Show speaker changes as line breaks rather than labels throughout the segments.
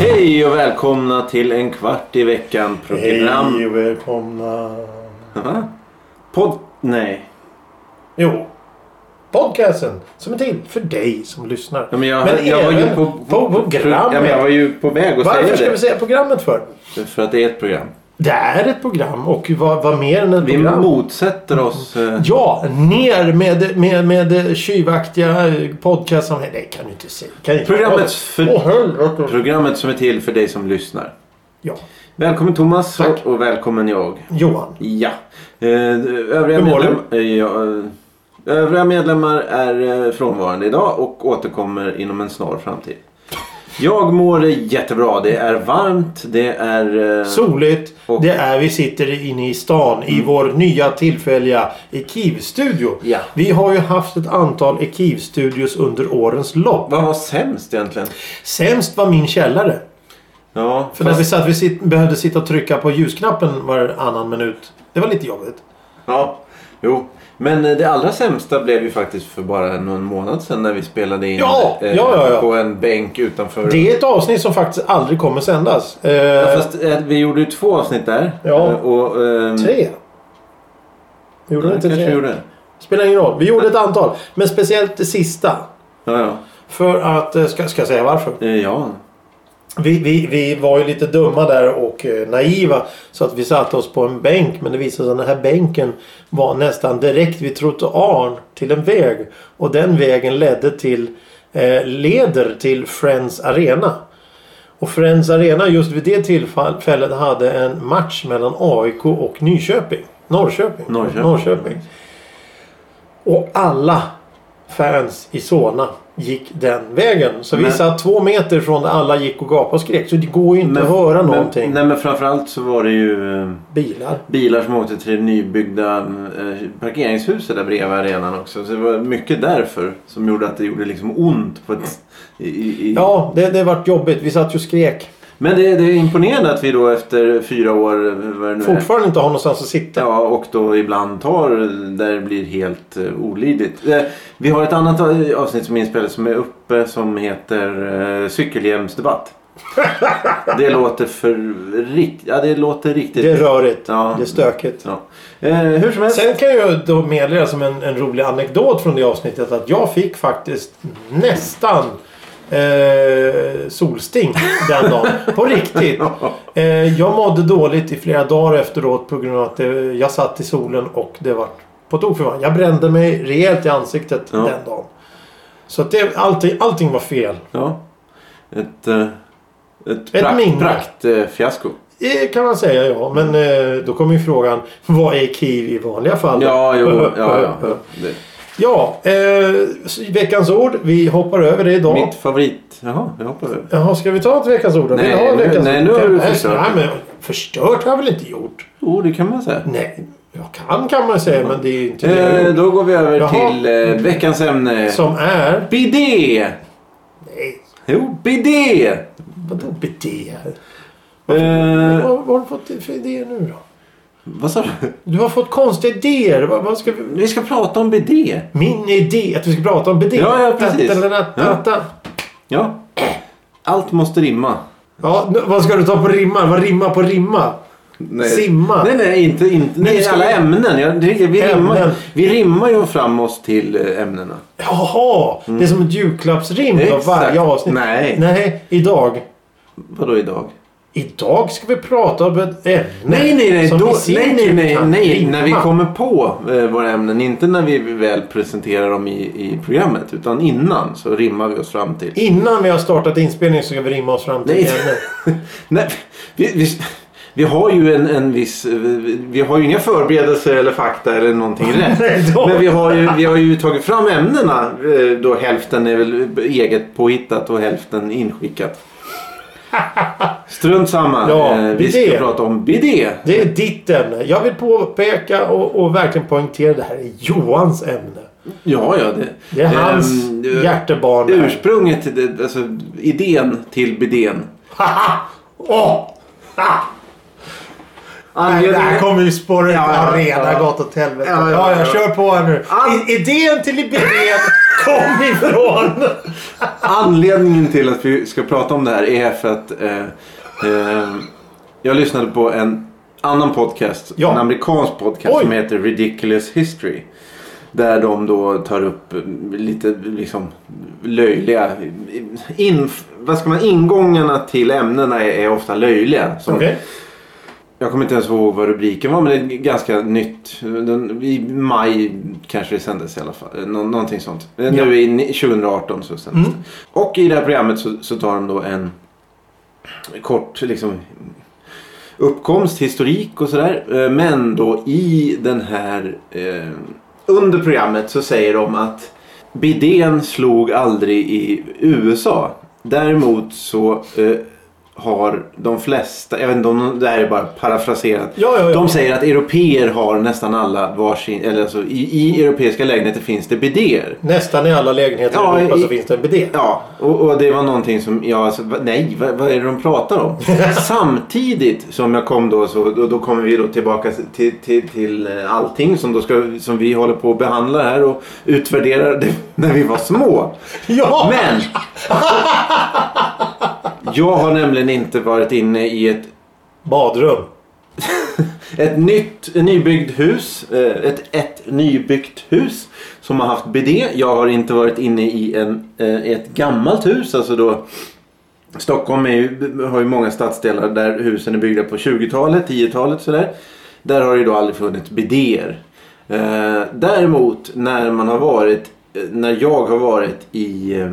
Hej och välkomna till en kvart i veckan program.
Hej och välkomna.
Pod... Nej.
Jo. Podcasten som är till för dig som lyssnar.
Ja, men jag, jag var ju
även
på,
programmet.
Ja, men jag var ju på väg att
Varför ska
säga
vi
det.
säga programmet för?
För att det är ett program.
Det är ett program och vad, vad mer än ett
Vi
program?
motsätter oss... eh,
Ja, ner med, med, med tjuvaktiga eh, podcast som... Nej, det kan du inte säga. Kan inte.
Programmet för-
Åh, helvete.
Programmet som är till för dig som lyssnar.
Ja.
Välkommen Thomas
Tack.
och välkommen jag.
Johan.
Ja. Eh, Övriga,
Hur mår
medlem... eh, ja, eh, Övriga medlemmar är eh, frånvarande idag och återkommer inom en snar framtid. Jag mår jättebra. Det är varmt. Det är... eh,
Soligt.
Och- Mm.
Det är, vi sitter inne i stan i vår nya tillfälliga Ekiv-studio.
Ja.
Vi har ju haft ett antal Ekiv-studios under årens lopp.
Vad var sämst egentligen?
Sämst var min källare.
Ja,
För
fast-
när vi satt, vi sit, behövde sitta och trycka på ljusknappen varannan minut. Det var lite jobbigt.
ja, jo. Men eh, det allra sämsta blev ju faktiskt för bara någon månad sedan när vi spelade in
Ja,
eh,
ja, ja, ja.
på en bänk utanför.
Det är ett avsnitt som faktiskt aldrig kommer sändas. Eh,
Ja, Fast eh, vi gjorde ju två avsnitt där.
Ja.
Eh, Och, ehm,
Tre. Gjorde
Ja,
vi
kanske
inte
vi
tre?
gjorde.
Spelar ingen roll. Vi gjorde ett antal. Men speciellt det sista.
Ja, ja.
För att... eh, Ska, ska jag säga varför?
Eh, ja.
Vi, vi, vi var ju lite dumma där och eh, naiva. Så att vi satte oss på en bänk. Men det visade sig att den här bänken var nästan direkt vid trottoaren till en väg. Och den vägen ledde till... Eh, leder till Friends Arena. Och Friends Arena just vid det tillfället hade en match mellan AIK och Nyköping. Norrköping.
Norrköping.
Och alla fans i Solna gick den vägen. Så vi
Men-
satt två meter från där alla gick och gapade och skrek. Så det går ju inte att höra någonting.
Men, nej, men framförallt så var det ju eh,
Bilar.
bilar som åkte till det nybyggda eh, parkeringshuset där bredvid arenan också. Så det var mycket därför som gjorde att det gjorde liksom ont. På ett, i, i, i-
Ja, det, det vart jobbigt. Vi satt ju och skrek.
Men det, det är imponerande att vi då efter fyra år, eh, vad det nu är,
Fortfarande inte har någonstans att sitta.
Ja, och då ibland tar där det blir helt eh, olidligt. Eh, vi har ett annat eh, avsnitt som är inspelat som är uppe som heter eh, cykelhjälmsdebatt. det låter för rikt... ja, det låter riktigt...
Det är rörigt.
Ja.
Det är stökigt.
ja. eh, hur som helst.
Sen kan jag ju då meddela som en, en rolig anekdot från det avsnittet att jag fick faktiskt nästan eh, solsting den dagen. På riktigt. Eh, jag mådde dåligt i flera dagar efteråt på grund av att det, jag satt i solen och det var på tok för varmt. Jag brände mig rejält i ansiktet
Ja.
den dagen. Så att det, allting, allting var fel.
Ja. Ett, eh, ett,
Ett
prakt,
minne.
prakt eh, fiasko.
Eh, kan man säga ja. Men eh, då kommer ju frågan. Vad är Kiev i vanliga fall?
Ja, jo, ja, ja. Det.
Ja, eh, veckans ord. Vi hoppar över det idag.
Mitt favorit... Jaha, jag hoppar över.
Jaha, ska vi ta ett veckans ord? då? Vill
Nej,
du ha ett
nu-
veckans
nej,
ord?
nu har du
Nej,
förstört.
Nej, men förstört har jag väl inte gjort?
Jo, det kan man säga.
Nej, jag kan kan man säga, men det är inte det jag har
Eh,
gjort.
då går vi över
Jaha. Mm.
till eh, veckans ämne.
Som är...
Bidé!
Nej,
Jo, bidé!
vadå bidé?
Eh,
Vad, vad har du fått för idéer nu då?
vad sa du?
Du har fått konstiga idéer. Vad, vad ska vi...
Vi ska prata om bidé.
Min idé att vi ska prata om bidé.
Ja, ja, precis.
Ja.
Ja. Allt måste rimma.
Ja, nu, vad ska du ta på rimmar? Vad rimmar på rimma?
Nej.
Simma.
Nej, nej, inte, inte nej,
ska
alla
vi-
ämnen. Ja, det, vi,
Ämnen.
Rimmar, vi rimmar ju fram oss till eh, ämnena.
Jaha! Det är som ett julklappsrim då
Exakt.
varje avsnitt.
Nej.
Nej, idag.
Vadå idag?
Idag ska vi prata om ett ämne.
Nej, nej, nej.
som typ. i
Då,
sin
nej, nej,
tur
nej,
kan
nej.
rimma.
När vi kommer på eh, våra ämnen. Inte när vi väl presenterar dem i, i programmet. Utan innan så rimmar vi oss fram till.
Innan vi har startat inspelningen så ska vi rimma oss fram till
Nej.
ämne.
Nej, vi, vi, vi har ju en, en viss... eh, vi- Vi har ju inga förberedelser eller fakta eller någonting rätt.
Nej, då.
Men vi har, ju, vi har ju tagit fram ämnena. eh, Då hälften är väl eget påhittat och hälften inskickat. Strunt samma.
Ja,
Eh, vi
bidé.
ska prata om bidé.
Det är ditt ämne. Jag vill påpeka och, och verkligen poängtera det här är Johans ämne.
Ja, ja. Det,
Det är hans
Ehm, det-
hjärtebarn. det här.
Ursprunget till det, alltså idén till bidén.
Haha! Åh! Ha! Nej, det
Anledningen-
här kommer ju spåra ut.
Ja,
Det har
ja,
redan
ja.
gått åt helvete.
Ja,
Ja,
ja, ja.
jag kör på här nu.
An-
I, idén till idén kom ifrån.
Anledningen till att vi ska prata om det här är för att eh, eh, jag lyssnade på en annan podcast.
Ja.
En amerikansk podcast
Oj.
som heter Ridiculous History. Där de då tar upp eh, lite liksom löjliga... Inf- vad ska man, ingångarna till ämnena är, är ofta löjliga. Som
Okej.
Jag kommer inte ens ihåg vad rubriken var men det är ganska nytt. Den, I maj kanske det sändes i alla fall. Eh, Nå, någonting sånt. Men
Ja.
Nu i ni- 2018 så sändes det. Och i det här programmet så, så tar de då en kort liksom uppkomst, historik och sådär. Eh, Men då i den här eh, under programmet så säger de att bidén slog aldrig i USA. Däremot så eh, har de flesta, jag vet inte om de- det här är bara parafraserat.
Ja, ja, ja.
De säger att europeer har nästan alla varsin, eller alltså i, i europeiska lägenheter finns det bidéer.
Nästan i alla lägenheter
Ja,
i Europa
i-
så finns det en bidé.
Ja, och, och det var någonting som jag... Alltså, va- nej, vad, vad är det de pratar om? Samtidigt som jag kom då så... Då, då kommer vi då tillbaka till, till, till eh, allting som, då ska, som vi håller på att behandla här och utvärdera det, när vi var små.
Ja!
Men! Jag har nämligen inte varit inne i ett,
Badrum.
ett nytt nybyggt hus. eh, Ett, ett nybyggt hus som har haft bidé. Jag har inte varit inne i en, eh, ett gammalt hus. Alltså då, Stockholm är ju, har ju många stadsdelar där husen är byggda på 20-talet, 10-talet sådär. Där har det ju då aldrig funnits bidéer. Eh, däremot när man har varit, eh, när jag har varit i, eh,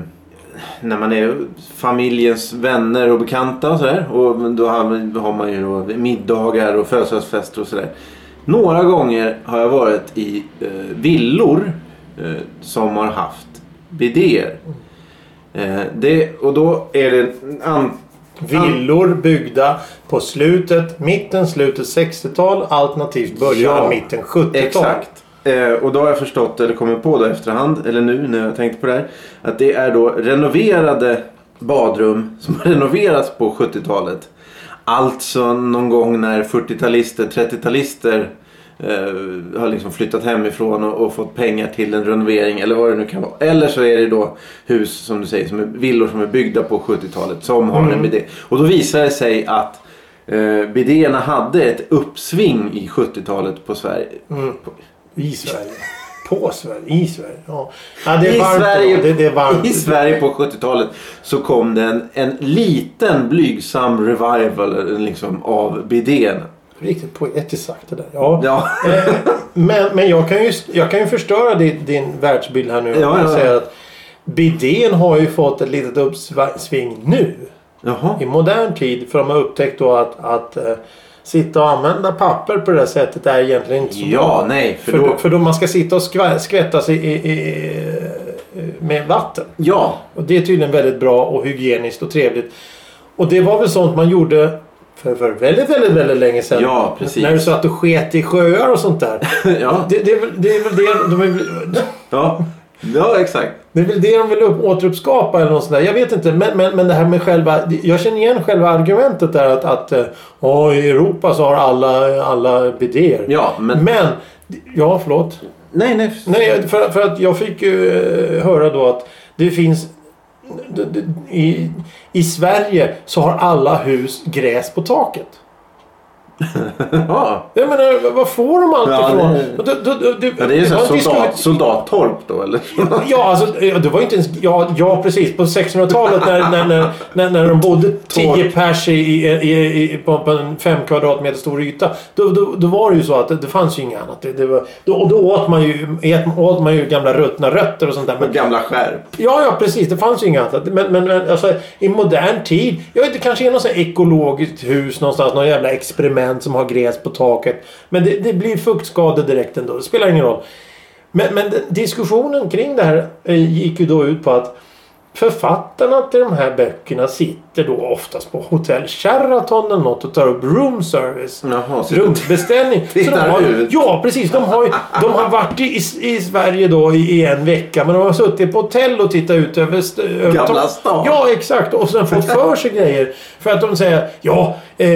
när man är familjens vänner och bekanta och sådär. Och då har man, har man ju då middagar och födelsedagsfester och sådär. Några gånger har jag varit i eh, villor eh, som har haft bidéer. Eh, det, och då är det... An,
Villor byggda på slutet, mitten, slutet 60-tal alternativt början,
Ja,
mitten 70-tal.
Exakt. Eh, och då har jag förstått, eller kommit på då efterhand, eller nu när jag tänkte på det här, att det är då renoverade badrum som har renoverats på 70-talet. Alltså någon gång när 40-talister, 30-talister eh, har liksom flyttat hemifrån och, och fått pengar till en renovering eller vad det nu kan vara. Eller så är det då hus som du säger, som är, villor som är byggda på 70-talet som har en bidé. Och då visar det sig att eh, bidéerna hade ett uppsving i 70-talet på Sverige.
I Sverige. På Sverige. I Sverige. Ja. Ja, det är
I
varmt
Sverige,
idag. Det, det är varmt.
I Sverige på 70-talet så kom det en, en liten blygsam revival eh, liksom, av bidén.
Riktigt poetiskt sagt det där. Ja.
Ja.
Eh, men men jag, kan ju, jag kan ju förstöra din, din världsbild här nu. om
Ja,
jag
ja, ja.
säger att bidén har ju fått ett litet uppsving nu.
Jaha.
i modern tid. För de har upptäckt då att, att eh, sitta och använda papper på det här sättet är egentligen inte så
Ja, nej. För
För då,
då,
för då man ska sitta och skva- skvätta sig i, i, i, med vatten.
ja,
Och det är tydligen väldigt bra och hygieniskt och trevligt. Och det var väl sånt man gjorde för, för väldigt, väldigt, väldigt länge sedan.
Ja, precis.
När du sa att du sket i sjöar och sånt där.
ja,
Det, det, är, väl, det är väl det de är,
ja, ja, exakt.
det är väl det de vill upp, återuppskapa eller något sånt där. Jag vet inte. Men, men, men det här med själva... Jag känner igen själva argumentet där att... att eh, "Ja, i Europa så har alla, alla bidéer.
Ja, men...
Men... Ja, förlåt.
Nej, nej.
Nej, för, för att jag fick ju eh, höra då att det finns... d- d- I, I Sverige så har alla hus gräs på taket.
Ja.
Jag menar, vad får de allt
Ja,
ifrån?
det-
Du- du- du- du-
Ja, det är ju så
har
här
en diskussion-
soldat, soldattorp då, eller?
Ja, alltså, ja, det var inte ens... Ja, ja precis. På 1600-talet när, när, när, när, när de bodde 10 pers i, i, i, i, på, på en 5 kvadratmeter stor yta. Då, då, då var det ju så att det, det fanns ju inget annat. Det, det var, då, och då åt man, ju, ät, åt man ju gamla ruttna rötter och sånt där. Men,
Gamla skärp.
ja, ja, precis. Det fanns ju inget annat. Men, men, men alltså, i modern tid. Jag vet inte, kanske är något sånt här ekologiskt hus någonstans. Någon jävla experiment som har gräs på taket. Men det, det blir fuktskador direkt ändå. Det spelar ingen roll. Men, men den- diskussionen kring det här eh, gick ju då ut på att Författarna till de här böckerna sitter då oftast på hotell Sheraton eller något och tar upp room service.
Jaha, så-
Rumbeställning. Så de
Tittar
har, ju-
ut.
ja, precis. De har, ju- de har varit i, i Sverige då i, i en vecka men de har suttit på hotell och tittat ut över... st- över
Gamla
to-
stan.
Ja, exakt. Och sen fått för sig grejer. För att de säger ja, eh,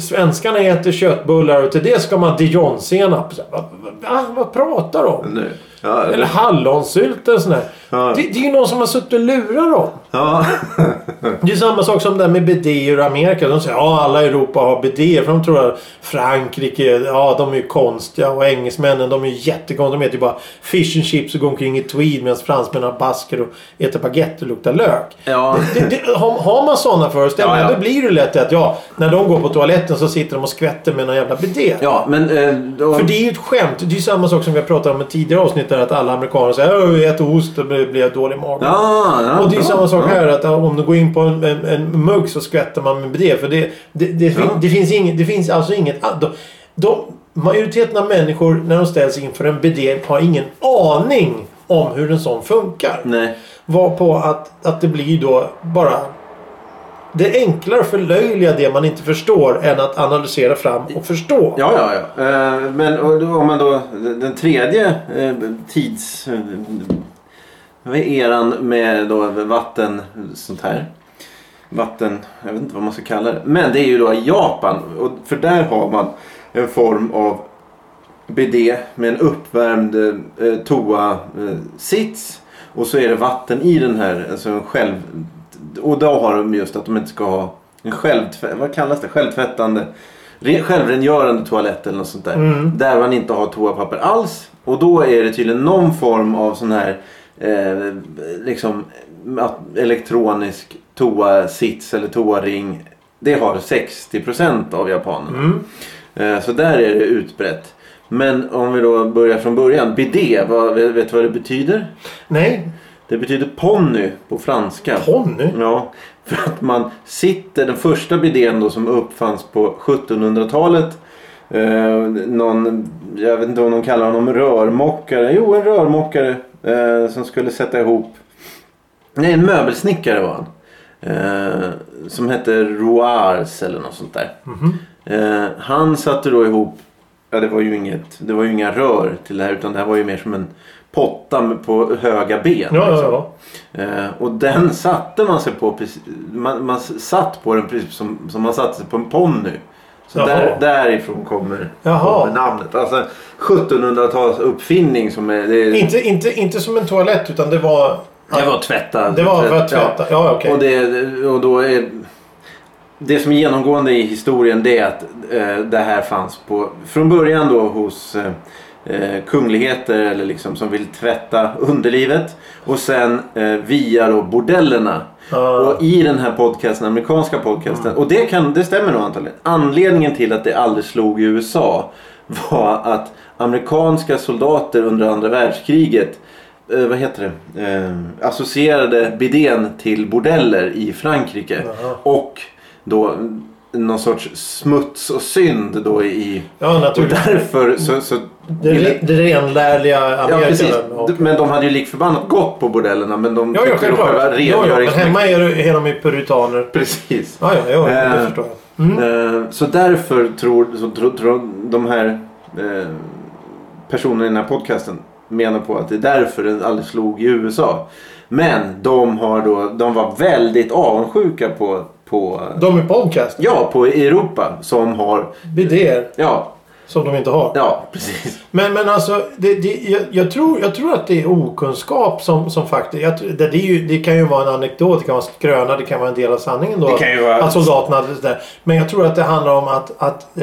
svenskarna äter köttbullar och till det ska man ha dijonsenap. Så, Va, va, ah, vad pratar de om?
Nu. Ja,
Eller hallonsylt eller sån där.
Ja.
Det, det är ju någon som har suttit och lurat dem.
ja.
Det är samma sak som det här med bidéer i Amerika. De säger att ja, alla i Europa har bidéer. För de tror att Frankrike, ja de är ju konstiga. Och engelsmännen de är ju jättekonstiga. De äter ju bara fish and chips och går omkring i tweed. Medan fransmännen har basker och äter baguette och luktar lök.
Ja.
Det, det, har, har man sådana föreställningar
Ja, ja.
då blir det lätt att ja, när de går på toaletten så sitter de och skvätter med någon jävla bidé.
ja, men... eh, Då...
För det är ju ett skämt. Det är ju samma sak som vi har pratat om i tidigare avsnitt där att alla amerikaner säger "Åh, jag äter ost och blir blir jag dålig i magen.
Ja, ja,
Och det är
bra.
samma sak
Ja.
här att om du går in på en, en, en mugg så skvätter man med det. För det, det, det, fin,
Ja.
det, finns, inget, det finns alltså inget... a- De, de, majoriteten av människor när de ställs inför en BD har ingen aning om hur en sån funkar.
Nej.
Var på att, att det blir då bara... Det är enklare att förlöjliga det man inte förstår än att analysera fram och förstå.
Ja, ja, ja. Eh, Men och då- om man då... Den tredje eh, tids... eh, Vad är eran med då vatten... Sånt här. Vatten... Jag vet inte vad man ska kalla det. Men det är ju då i Japan. Och för där har man en form av bidé med en uppvärmd eh, toa-sits. Och så är det vatten i den här. Alltså en själv... Och då har de just att de inte ska ha en självtvätt... Vad kallas det? Självtvättande... Re, självrengörande toalett eller något sånt där.
Mm.
Där man inte har toapapper alls. Och då är det tydligen någon form av sån här... Eh, liksom att- elektronisk toasits eller toaring. Det har 60% av japanerna.
Mm.
Eh, Så där är det utbrett. Men om vi då börjar från början. Bidé, vad, vet du vad det betyder?
Nej,
Det betyder ponny på franska.
ponny.
Ja, för att man sitter, den första bidén då som uppfanns på 1700-talet. Eh, någon, jag vet inte om de kallar honom rörmokare. Jo, en rörmokare eh, som skulle sätta ihop. Nej, en möbelsnickare var han. Eh, som hette Roars eller något sånt där.
Mhm.
Eh, han satte då ihop, ja det var ju inget, det var ju inga rör till det här utan det här var ju mer som en potta med- på höga ben.
Ja, ja,
liksom.
ja.
Eh, och den satte man sig på, precis- man, man satt på den precis som, som man satte sig på en ponny. Så
Jaha.
där, därifrån kommer,
Jaha.
kommer namnet. Alltså 1700-tals uppfinning som är... Det, är-
Inte, inte, inte som en toalett utan det var...
det var tvätta.
Det var för att tvätta. Ja, okej.
Och, det, och då är... Det som är genomgående i historien det är att eh, det här fanns på, från början då hos eh, eh, kungligheter eller liksom som vill tvätta underlivet. Och sen eh, via då bordellerna.
Ja.
Och i den här podcasten, amerikanska podcasten. Och det, kan, det stämmer nog antagligen. Anledningen till att det aldrig slog i USA var att amerikanska soldater under andra världskriget eh, vad heter det? Eh, associerade bidén till bordeller i Frankrike.
Jaha.
Och då någon sorts smuts och synd då i...
Ja,
Och
naturligtvis.
därför så... så
Det, re, det renlärliga
Ja,
Amerika.
precis.
Och-
Men de hade ju lik förbannat gått på bordellerna men de
Ja, ja,
tyckte då
självklart.
själva
Ja, ja, men
rengörings...
hemma är, det- är de ju puritaner.
Precis.
Ja, ja, ja det
Eh.
förstår jag. Mm.
Eh, Så därför tror, så tror, tror de här eh, personerna i den här podcasten menar på att det är därför den aldrig slog i USA. Men de, har då, de var väldigt avundsjuka på, på,
De är podcast.
ja, på Europa som har...
Bidéer
Ja,
som de inte har.
ja precis.
Men, men alltså, det, det, jag, jag, tror, jag tror att det är okunskap som, som faktiskt... Jag, tror- det, det, är ju, det kan ju vara en anekdot, det kan vara en skröna, det kan vara en del av sanningen då.
Det kan ju vara-
Att soldaterna hade sådär. Men jag tror att det handlar om att, att eh,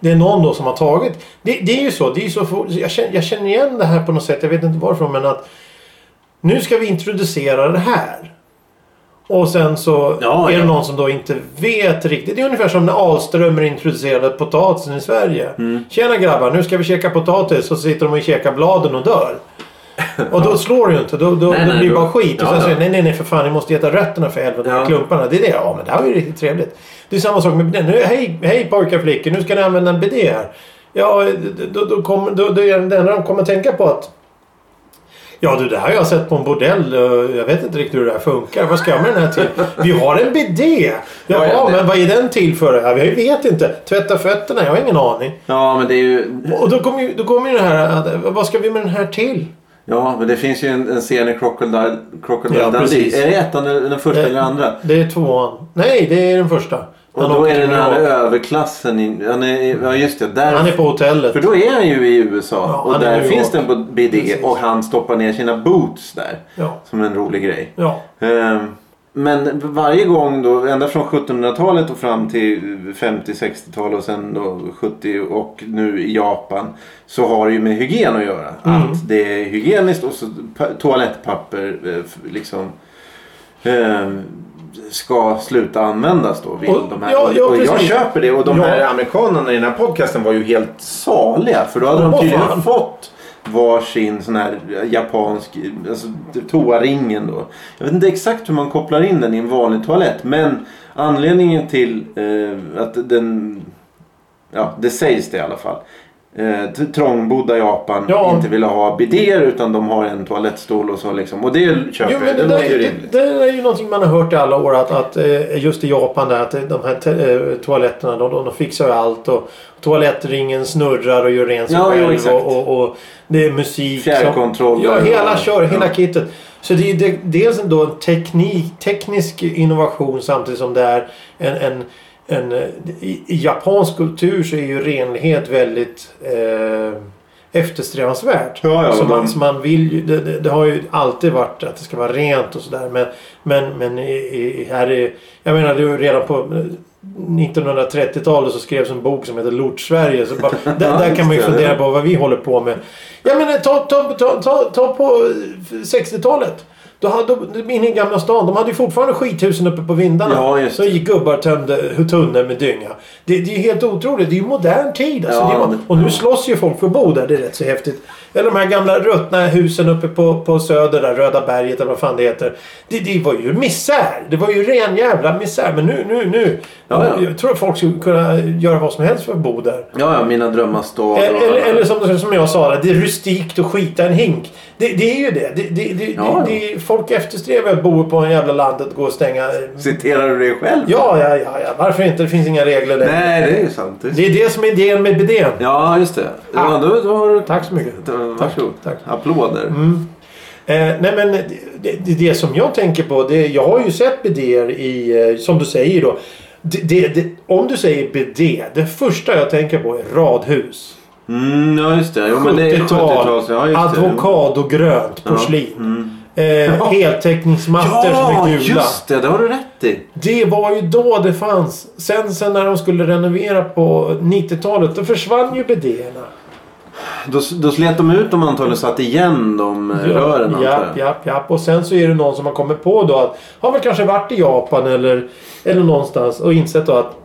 det är någon då som har tagit... Det, det är ju så, det är ju så få- jag, känner, jag känner igen det här på något sätt, jag vet inte varifrån men att... Nu ska vi introducera det här. Och sen så
Ja,
är det
ja.
någon som då inte vet riktigt. Det är ungefär som när Ahlströmer introducerade potatisen i Sverige.
Mm.
Tjena grabbar, nu ska vi käka potatis. Och så sitter de och käkar bladen och dör. Och då slår det ju inte. Då, då,
Nej,
det
nej,
blir
då-
bara skit. Och
Ja,
sen
ja.
säger nej, nej, nej för fan. Ni måste äta rötterna för helvete.
Ja.
Klumparna. Det är det. Ja, men det här var ju riktigt trevligt. Det är samma sak med den. Nu- Hej, hej pojkar och flickor. Nu ska ni använda en bidé här. Ja, då, då, kommer- då, då är det enda de kommer att tänka på att Ja du, det här har jag sett på en bordell. eh, Jag vet inte riktigt hur det här funkar. Vad ska jag med den här till? Vi har en bidé!
Ja,
Jaha,
ja, det-
men vad är den till för? Ja, Jag vet inte. Tvätta fötterna? Jag har ingen aning.
Ja, men det är ju...
Och då kommer ju, då kommer ju det här att, eh, vad ska vi med den här till?
Ja, men det finns ju en, en scen i Crocodile, Crocodile
Ja,
Dundee.
precis. Eh,
Är det ettan, eller den första
Nej.
eller andra?
Det är tvåan. Nej, det är den första.
Och
Han
då
åker
är det
till
den här
Irak.
överklassen. I, han är, ja, just det. Där,
Han är på hotellet.
För då är han ju i USA.
Ja,
och
han är i
där
New
finns
York.
den på BD.
Precis.
Och han stoppar ner sina boots där.
Ja.
Som en rolig grej.
ja.
Ehm, Men varje gång då, ända från 1700-talet och fram till 50-60-tal och sen då 70 och nu i Japan. Så har det ju med hygien att göra.
Mm.
Att det är hygieniskt och så pa- toalettpapper eh, f- liksom. ehm, ska sluta användas då. Vill
Och-
de här.
ja, ja,
och jag
precis.
köper det. Och de
Ja.
här amerikanerna i den här podcasten var ju helt saliga. För då hade de
Åh,
tydligen
fan.
fått varsin sån här japansk alltså, toaringen då. Jag vet inte exakt hur man kopplar in den i en vanlig toalett. Men anledningen till eh, att den... Ja, det sägs det i alla fall. Eh, t- trångbodda Japan
Ja.
inte ville ha bidéer utan de har en toalettstol och så liksom. Och det köper
Jo,
jag.
men
Det,
det, där,
låter ju
det,
rimligt.
det där är ju någonting man har hört i alla år att, att eh, just i Japan där att eh, de här te- eh, toaletterna de, de fixar ju allt och toalettringen snurrar och gör rent sig
Ja, jo,
själv
exakt.
och, och, och det är musik. som-
Fjärrkontroller
Ja, hela
och-
kör, hela
ja.
kittet. Så det är ju de, dels en, då en teknik, teknisk innovation samtidigt som det är en, en, en eh, i, I japansk kultur så är ju renlighet väldigt eh, eftersträvansvärt.
Ja, ja,
så
och
man,
de-
så man vill ju, det, det, det har ju alltid varit att det ska vara rent och sådär. Men, men, men i, i, här är... Jag menar, det var redan på eh, 1930-talet så skrevs en bok som heter Lort-Sverige. Så bara, där, där kan man ju
Ja, det är
fundera
det.
på vad vi håller på med. Jag menar, ta, ta, ta, ta, ta på 60-talet. Då hade, de- inne i Gamla stan, de hade ju fortfarande skithusen uppe på vindarna.
Ja, just
så gick gubbar och tömde tunnor med dynga. Det, det är ju helt otroligt. Det är ju modern tid. Alltså,
Ja,
det är,
men-
och nu slåss ju folk för att bo där. Det är rätt så häftigt. Eller de här gamla ruttna husen uppe på, på Söder där. Röda berget eller vad fan det heter. Det, det var ju misär. Det var ju ren jävla misär. Men nu, nu, nu.
Ja, ja.
Jag tror att folk skulle kunna göra vad som helst för att bo där.
Ja, ja, mina drömmars stad. och-
Eller, eller som, som jag sa, där, det är rustikt att skita en hink. Det, det är ju det. det, det, det,
Ja,
det, det folk eftersträvar att bo på en jävla landet och gå och stänga.
Citerar du dig själv?
Ja, ja, ja, ja. Varför inte? Det finns inga regler längre.
Nej, det är ju sant. Det är
Det är det som är idén med bidén.
Ja, just det. Ja,
Ah.
då, då har du...
Tack så mycket.
Varsågod.
Tack, tack. Mm.
Applåder.
Eh, nej men det, det, det som jag tänker på. Det, jag har ju sett bidéer i, eh, som du säger då. Det, det, det, om du säger bidé. Det första jag tänker på är radhus.
Mm, ja, just det. Jo, men det är 70-tal.
70-tal.
Ja, just det. Mm.
Advokadogrönt porslin. Eh, heltäckningsmattor som
Ja,
är gula.
just det. Det har du rätt i.
Det var ju då det fanns. Sen, sen när de skulle renovera på 90-talet, då försvann ju bidéerna.
Då, då slet de ut dem antagligen och satte igen de eh, rören. antar
Japp,
jag.
japp, japp. Och sen så är det någon som har kommit på då att har väl kanske varit i Japan eller, eller någonstans och insett då att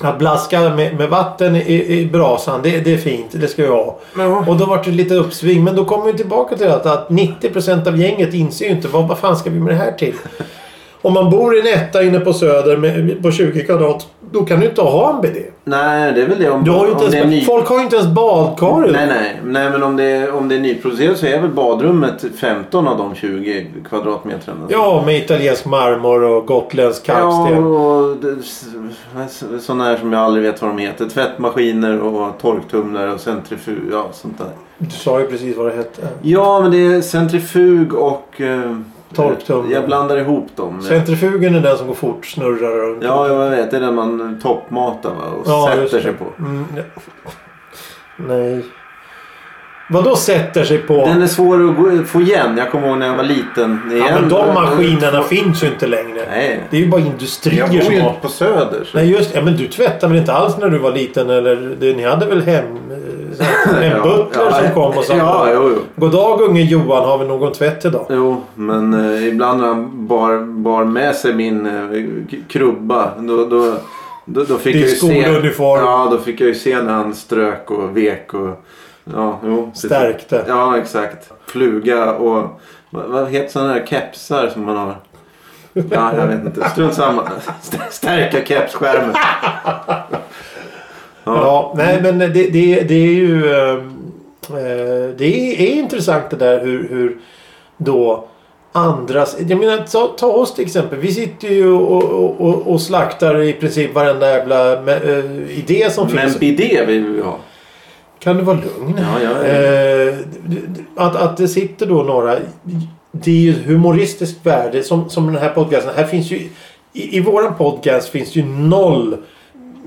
att blaska med, med vatten i, i brasan, det, det är fint. Det ska jag ha.
Ja.
Och då vart det lite uppsving. Men då kommer vi tillbaka till att, att 90% av gänget inser ju inte vad, vad fan ska vi med det här till? Om man bor i en etta inne på Söder med, på 20 kvadrat, då kan du inte ha en bidé.
Nej, det är väl det. Om,
Du har ju inte
om det är
ens,
ny...
Folk har ju inte ens badkar. ju.
Nej, nej. nej men om det, är, om det är nyproducerat så är väl badrummet 15 av de 20 kvadratmetrarna.
Ja, med italiensk marmor och gotländsk kalksten.
Ja, och det- s- s- sådana här som jag aldrig vet vad de heter. Tvättmaskiner och torktumlare och centrifug. Ja, sånt där.
Du sa ju precis vad det hette.
Ja, men det är centrifug och... Eh,
Torktumlare.
Jag blandar ihop dem.
Centrifugen är den som går fort, snurrar runt.
Ja, jag vet. Det är den man eh, toppmatar va? och
Ja, just
sätter
det.
sig på.
Mm, ne- nej. Vadå sätter sig på?
Den är svår att gå- få igen. Jag kommer ihåg när jag var liten. Igen.
ja, men de maskinerna finns ju inte längre.
Nej.
Det är ju bara
Jag
industrier
bor ju
som har...
inte på Söder. Så.
Nej just ja, men du tvättade väl inte alls när du var liten? Eller det, ni hade väl hem... eh, så här- En butler som kom och sa
Ja, jo, jo.
God dag unge Johan, har vi någon tvätt idag?
Jo, men eh, ibland när han bar, bar med sig min eh, k- krubba. Då, då, då, då fick
Din
jag ju se...
skoluniform.
Ja, då fick jag ju se när han strök och vek och... Ja, jo. precis.
Stärkte.
Ja, exakt. Fluga och... Vad, vad heter sådana där kepsar som man har? Ja, jag vet inte. Strunt samma. St- Stärka kepsskärmen.
Ja, nej men det, det, det är ju... eh, Eh, det är, är intressant det där hur, hur då andras... Jag menar ta, ta oss till exempel. Vi sitter ju och, och, och, och slaktar i princip varenda jävla eh, idé som
Men
finns.
bidé vill vi ha.
Kan du vara lugn?
Ja, ja, ja.
Eh, att, att det sitter då några... Det är ju ett humoristiskt värde som, som den här podcasten. Här finns ju, i, I våran podcast finns ju noll...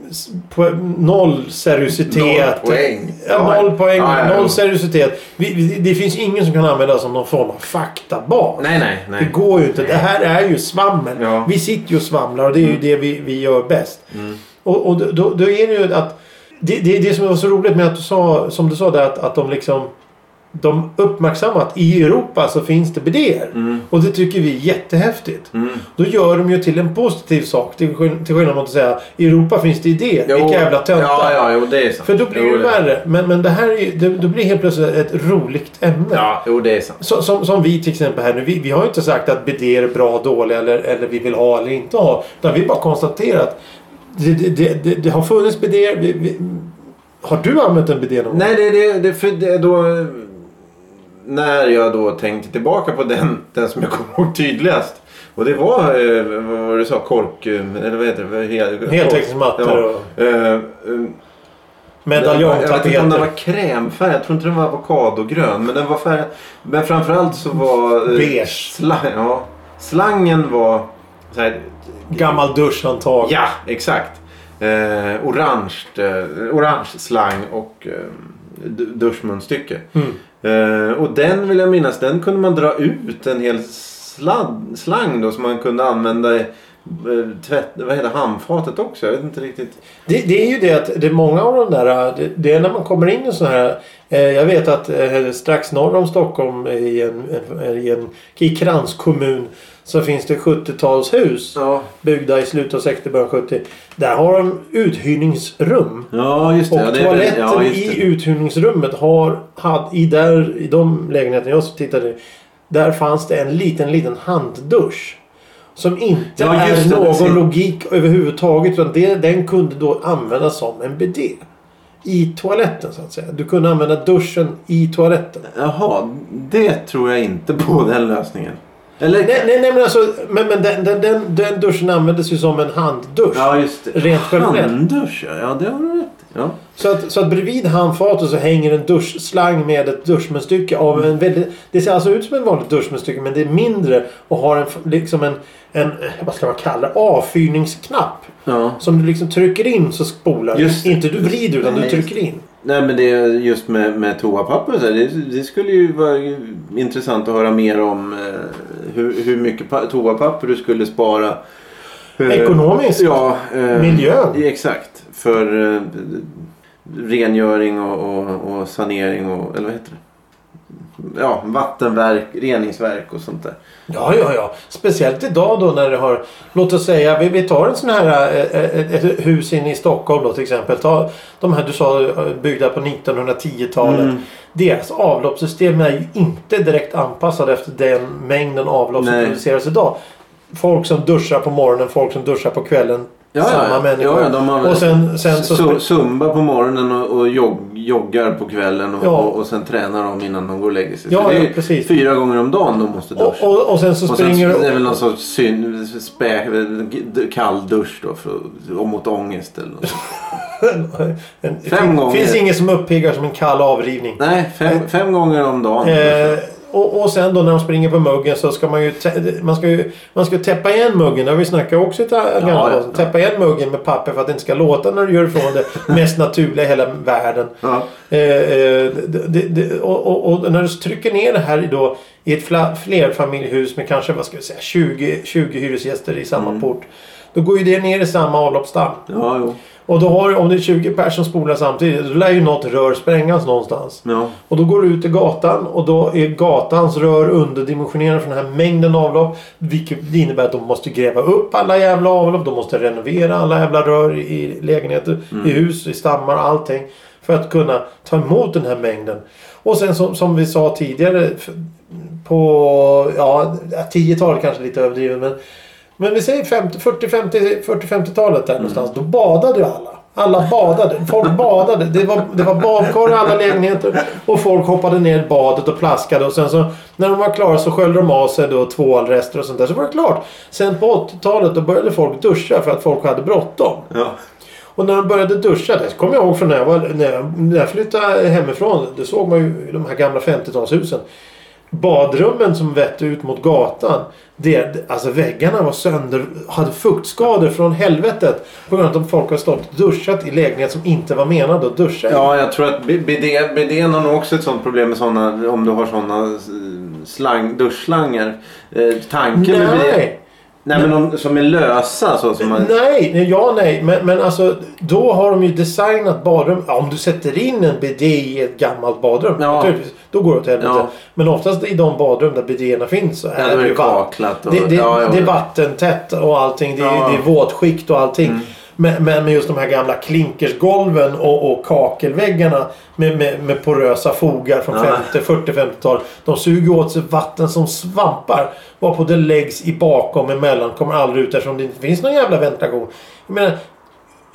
s- po- Noll seriositet.
Noll poäng.
Ja,
Ja,
noll poäng.
ja, ja, ja.
Noll seriositet. Vi, vi, det finns ingen som kan använda det som någon form av faktabas.
Nej, nej,
Det
nej.
går ju inte. Det här är ju svammel.
Ja. Mm.
Vi sitter ju och svamlar och det är ju det vi, vi gör bäst. Och, och då- då, då är det ju att... Det, det, det som var så roligt med att du sa, som du sa där, att, att de liksom... De uppmärksammar att i Europa så finns det bidéer.
Mm.
Och det tycker vi är jättehäftigt. Då gör de ju till en positiv sak. Till, skill- till skillnad mot att säga i Europa finns det idéer.
Jo.
Vilka jävla töntar.
Ja, ja, jo, det är sant.
För då blir det
Jo,
ju värre. Men, men det här är ju, det, då blir det helt plötsligt ett roligt ämne.
Ja, jo, det är sant.
Så, som, som vi till exempel här nu. Vi, vi har ju inte sagt att BD är bra, dålig eller, eller vi vill ha eller inte ha. Utan vi har bara konstaterat. Det, det, det, det, det har funnits BD. Vi, vi, har du använt en BD någon gång?
Nej, det, det, det, för det då... eh, När jag då tänkte tillbaka på den, den som jag kommer ihåg tydligast. Och det var, eh, vad var det du sa, kork... eh, Eller vad heter det? Hel,
Heltäckningsmattor
Ja. Eh, eh, jag vet inte om den
Medaljongtapeter.
var krämfärgad. Jag tror inte den var avokadogrön. Men den var färg... Men framförallt så var... eh,
Beige.
Slang, ja. Slangen var... Så här,
Gammal duschhandtag.
ja, exakt. Eh, orange, eh, orange slang och eh, du- duschmunstycke.
Mm.
Eh, och den vill jag minnas, den kunde man dra ut en hel sladd, slang då som man kunde använda i eh, tvätt, vad heter det, handfatet också. Jag vet inte riktigt.
Det, det är ju det att det är många av de där. Det, det är när man kommer in i sådana här. Eh, jag vet att eh, strax norr om Stockholm i, en, en, i, en, i Krans kommun. Så finns det 70-talshus.
Ja,
Byggda i slutet av 60 början 70. Där har de uthyrningsrum.
ja just det.
Och
ja, det är väl-
toaletten
ja, just det.
i uthyrningsrummet har, hade, i, där, i de lägenheterna jag tittade i, Där fanns det en liten, liten handdusch. Som inte
Ja,
är
just det, det
någon
ser-
logik överhuvudtaget. Utan det, den kunde då användas som en bidé. I toaletten så att säga. Du kunde använda duschen i toaletten.
Jaha, det tror jag inte på den lösningen. Eller?
Nej, nej, nej men alltså. Men, men den, den, den, den duschen användes ju som en handdusch.
Ja, just det.
Rent generellt.
Handdusch, ja. Ja, det har du rätt i. ja.
Så att, så att bredvid handfatet så hänger en duschslang med ett duschmunstycke av en väldigt... Det ser alltså ut som en vanlig duschmunstycke men det är mindre och har en, liksom en, en vad ska man kalla det, avfyrningsknapp.
ja.
Som du liksom trycker in så spolar
Just
du.
det.
Inte du vrider utan du
Nej, just
trycker in.
Nej men det är just med, med toapapper och så här, det, det skulle ju vara intressant att höra mer om eh, hur, hur mycket pa- toapapper du skulle spara. Eh,
Ekonomiskt.
Ja. Eh,
Miljön.
Exakt. För eh, rengöring och, och, och sanering och, eller vad heter det? Ja, vattenverk, reningsverk och sånt där.
Ja, ja, ja. Speciellt idag då när det har... Låt oss säga, vi, vi tar en sån här... eh, eh, Ett hus inne i Stockholm då till exempel. Ta de här du sa eh, byggda på 1910-talet.
Mm.
Deras avloppssystem är ju inte direkt anpassade efter den mängden avlopp som
Nej.
produceras idag. Folk som duschar på morgonen, folk som duschar på kvällen.
Ja,
samma
ja.
människor.
Ja, ja, de har väl-
och sen, sen så...
Su- Zumba på morgonen och, och jogg, joggar på kvällen och,
Ja.
och, och sen tränar de innan de går och lägger sig.
Ja,
Så det är
ja,
ju
precis.
fyra gånger om dagen de måste
och,
duscha. Och,
och, och sen så
sen
springer...
är det väl någon sorts syn, spä, kall dusch då för, och mot ångest eller något. sånt.
en,
Fem gånger.
finns inget som uppiggar som en kall avrivning.
Nej, fem, fem gånger om dagen.
Eh, och, och sen då när de springer på muggen så ska man ju, tä- man ska ju man ska ju täppa igen muggen. Det har vi snackat också i ta-
Ja, ja.
Täppa igen muggen med papper för att det inte ska låta när du gör ifrån det mest naturliga i hela världen.
ja.
Eh, eh, det, det- det, och, och, och när du trycker ner det här i då, i ett fla, flerfamiljhus med kanske vad ska vi säga, 20, 20 hyresgäster i samma port. Då går ju det ner i samma avloppsdamm.
ja, jo.
Och då har, om det är 20 personer som spolar samtidigt då lär ju något rör sprängas någonstans.
Ja.
Och då går du ut i gatan och då är gatans rör underdimensionerade för den här mängden avlopp. Vilket innebär att de måste gräva upp alla jävla avlopp. De måste renovera alla jävla rör i lägenheter, i hus, i stammar och allting. För att kunna ta emot den här mängden. Och sen som, som vi sa tidigare. f- På ja, 10-talet kanske lite överdrivet men. Men vi säger 50, 40-50-talet där någonstans. Då badade ju alla. Alla badade. Folk badade. Det var, det var badkar i alla lägenheter. Och folk hoppade ner i badet och plaskade. Och sen så när de var klara så sköljde de av sig då tvålrester och sånt där. Så var det klart. Sen på 80-talet då började folk duscha för att folk hade bråttom.
Ja.
Och när de började duscha, det kommer jag ihåg från när jag, var, när jag, när jag flyttade hemifrån. Det såg man ju i de här gamla 50-talshusen. Badrummen som vette ut mot gatan. Det, alltså väggarna var sönder, hade fuktskador från helvetet. På grund av att folk har stått och duschat i lägenhet som inte var menade att duscha i.
Ja, jag tror att BD, BDn har nog också ett sånt problem med såna, om du har såna eh, slang, duschslangar. Eh, tanken med BD,
Nej!
Nej, men de som är lösa så som Alltså, man...
Nej, nej, ja nej. Men, men alltså då har de ju designat badrum. Ja, om du sätter in en bidé i ett gammalt badrum.
Ja.
naturligtvis, Då går det åt helvete.
Ja.
Men oftast i de badrum där bidéerna finns så
Ja, då är det
ju vatten-
kaklat och-
det, det,
ja, ja,
det är
ja.
vattentätt och allting. Det är,
Ja. Mm.
det är våtskikt och allting. Men, men med just de här gamla klinkersgolven och, och kakelväggarna med, med, med porösa fogar från
Ja.
50, 40-50-tal. De suger åt sig vatten som svampar. Varpå det läggs i bakom emellan. Kommer aldrig ut eftersom det inte finns någon jävla ventilation. Jag menar,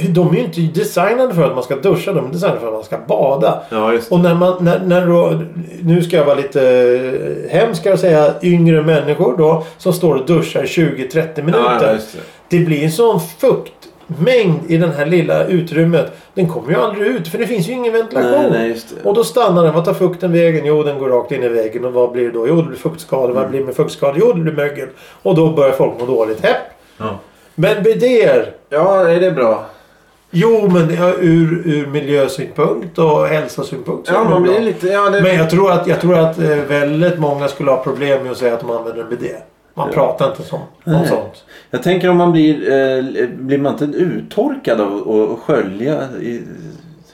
de är ju inte designade för att man ska duscha. De är designade för att man ska bada.
Ja, just det.
Och när man, när, när då, nu ska jag vara lite eh, hemsk och säga yngre människor då som står och duschar i 20-30
Ja,
minuter.
ja, just det.
det blir en sån fuktmängd i den här lilla utrymmet. Den kommer ju aldrig ut för det finns ju ingen ventilation.
Nej, nej, just det.
Och då stannar den. Vad tar fukten vägen? Jo, den går rakt in i väggen. Och vad blir det då? Jo, det blir fuktskador.
Mm.
Vad blir det med fuktskador? Jo, det blir mögel. Och då börjar folk må dåligt. Hepp.
Ja.
Men bidéer.
ja, är det bra?
Jo, men ja, ur, ur miljösynpunkt och hälsosynpunkt så är
Ja,
det
man
bra.
blir lite... Ja, det...
Men jag tror att, jag tror att eh, väldigt många skulle ha problem med att säga att de använder en bidé. Man pratar inte som, om
Nej.
sånt.
Jag tänker om man blir... Eh, blir man inte uttorkad av att skölja... I,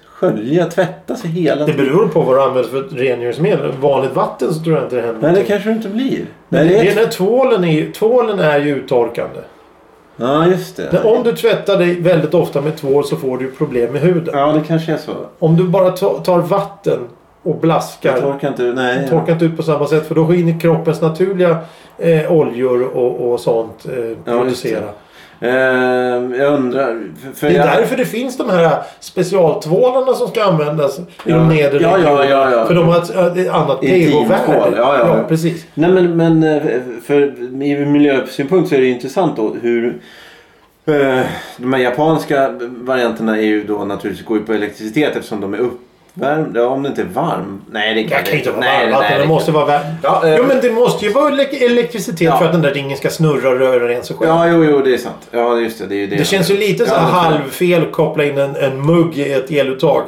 skölja, tvätta sig hela
Det beror på vad du använder för rengöringsmedel. Vanligt vatten så tror jag inte det händer
Nej, det
någonting.
kanske det inte blir.
Men
Nej,
det
det
är
är...
när tvålen är, ju- tvålen är ju uttorkande.
Ja, just det.
Om du tvättar dig väldigt ofta med tvål så får du problem med huden.
Ja, det kanske är så.
Om du bara ta- tar vatten och
Jag
blaskar.
torkar inte... Nej.
Torkar inte ut på samma sätt för då hinner kroppens naturliga eh, oljor och, och sånt eh, producera.
Eh, jag undrar... För, för
Det är
jag...
därför det finns de här specialtvålarna som ska användas i
Ja.
de nedre
Ja, ja, ja, ja.
För de har ett, äh, ett annat
Intimtvål,
pH-värde.
ja, ja, ja.
precis.
Nej men, men eh, för ur miljösynpunkt så är det ju intressant då hur eh, de här japanska varianterna är ju då naturligtvis går ju på elektricitet eftersom de är uppvärmda. Ja, Om det inte är varm. Nej det
Det
kan,
kan ju inte vara
nej,
varmvatten.
nej,
det måste vara värme.
Ja, eh,
Jo men det måste ju vara elek- elektricitet
Ja.
för att den där ringen ska snurra och röra rent sig själv.
Ja jo jo det är sant. Ja just det. Det, är ju det.
det känns ju lite så
ja,
här
det-
halvfel koppla in en, en mugg i ett eluttag.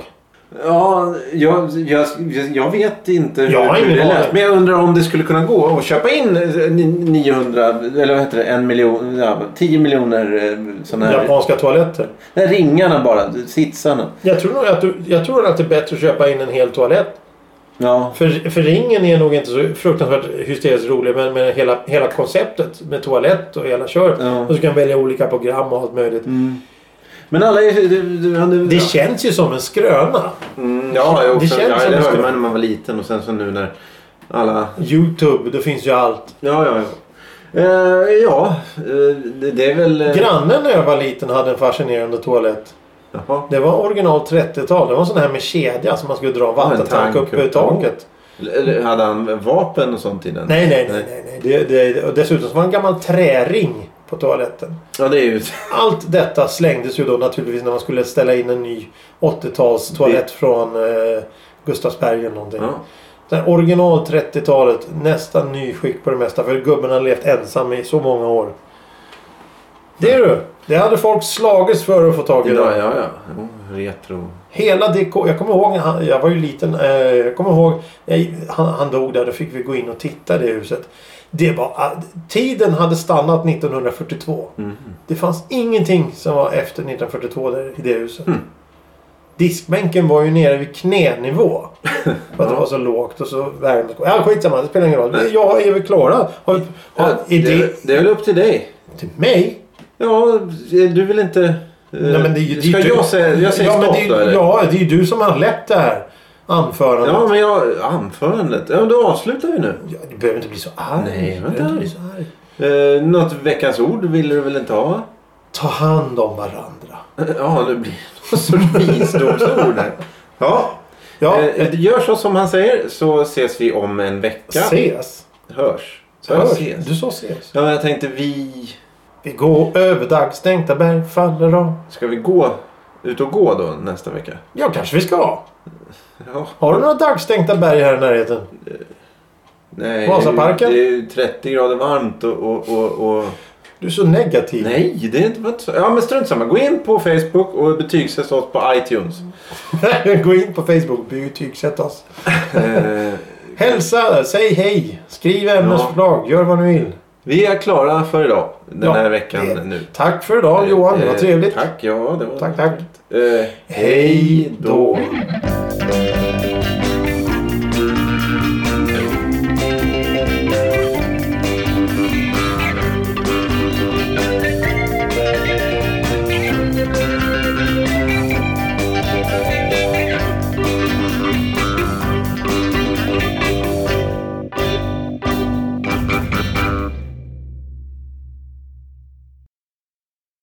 Ja jag, jag, jag- jag vet inte hur,
Jag har
hur
ingen
det lät.
aning.
Men jag undrar om det skulle kunna gå att köpa in eh, ni- 900 eller vad heter det? En miljon, ja, 10 miljoner eh, sådana här.
Japanska toaletter.
Nej, ringarna bara. Sitsarna.
Jag tror nog att, du, jag tror att det är bättre att köpa in en hel toalett
Ja.
För, för ringen är nog inte så fruktansvärt hysteriskt rolig men, men hela, hela konceptet med toalett och hela köret.
Ja. Mm.
Och så kan man välja olika program och allt möjligt.
Men alla är du, du, du,
Det känns ju som en skröna.
mm, ja, jag,
det
också,
känns
ja,
som
det
det
hörde
skulle-
man när man var liten och sen så nu när alla...
Youtube, det finns ju allt.
Ja, ja, ja. Eh, ja, eh, det, det är väl... eh,
Grannen när jag var liten hade en fascinerande toalett.
Jaha.
Det var original 30-tal. Det var en sån här med kedja som man skulle dra en
en
vattentank
tank
upp i
upp.
taket.
Eller- Eller hade han vapen och sånt i den?
Nej, nej, nej. nej, nej. Det, det, och dessutom så var det en gammal träring på toaletten.
Ja, det är ju...
Allt detta slängdes ju då naturligtvis när man skulle ställa in en ny 80-tals toalett från eh, Gustavsberg eller någonting.
Ja.
Den original 30-talet, nästan nyskick på det mesta för gubben har levt ensam i så många år. Det är du! Det hade folk slagits för att få tag i.
Idag,
Idag.
ja, ja. Jo, retro.
Hela det, jag kommer ihåg, när han- jag var ju liten, eh, jag kommer ihåg, jag, han, han dog där, då fick vi gå in och titta i det huset. Det var, ah, tiden hade stannat 1942.
Mm.
Det fanns ingenting som var efter 1942 där, i det huset.
Hmm.
Diskbänken var ju nere vid knänivå. För att det var så lågt och så värmt. Ja, skitsamma, det spelar ingen roll.
Nej.
Jag är väl klara. Har, har,
Ja,
är det
det, det är väl upp till dig.
till mig?
Ja, du vill inte... eh,
Nej, men det är ju- det är
Ska
ju-
jag säga, jag säger
ja, men
stopp
det är,
då, eller?
ju- Ja, det är ju du som har lett det här anförandet.
ja, men jag... Anförandet. Ja, men då avslutar vi nu.
Ja, Du behöver inte bli så arg.
Nej,
du
vänta.
behöver inte bli så arg.
Eh, något veckans ord ville du väl inte ha?
ta hand om varandra.
Ja, det blir någon sorts visdomsord här. Ja.
Ja,
Eh, Gör så som han säger så ses vi om en vecka.
ses.
Hörs. Så
Hörs.
ses.
Du sa ses.
Ja, men jag tänkte vi...
Vi går över dags, tänkta berg faller av.
Ska vi gå ut och gå då nästa vecka?
Ja, kanske vi ska.
Ja.
Har du några dagstänkta berg här i närheten?
Nej,
Vasaparken?
Det är ju 30 grader varmt och... och, och, och...
Du är så negativ.
Nej, det är inte- var inte så. Ja, men strunt samma. Gå in på Facebook och betygsätt oss på iTunes.
Gå in på Facebook och betygsätt oss.
Eh,
Hälsa, säg hej, skriv ämnesförslag, gör vad ni vill.
vi är klara för idag. Den
Ja,
här veckan
det-
nu.
Tack för idag Johan, det var
Eh,
trevligt.
Tack, ja det var
Tack, tack.
Eh, hej Eh, då.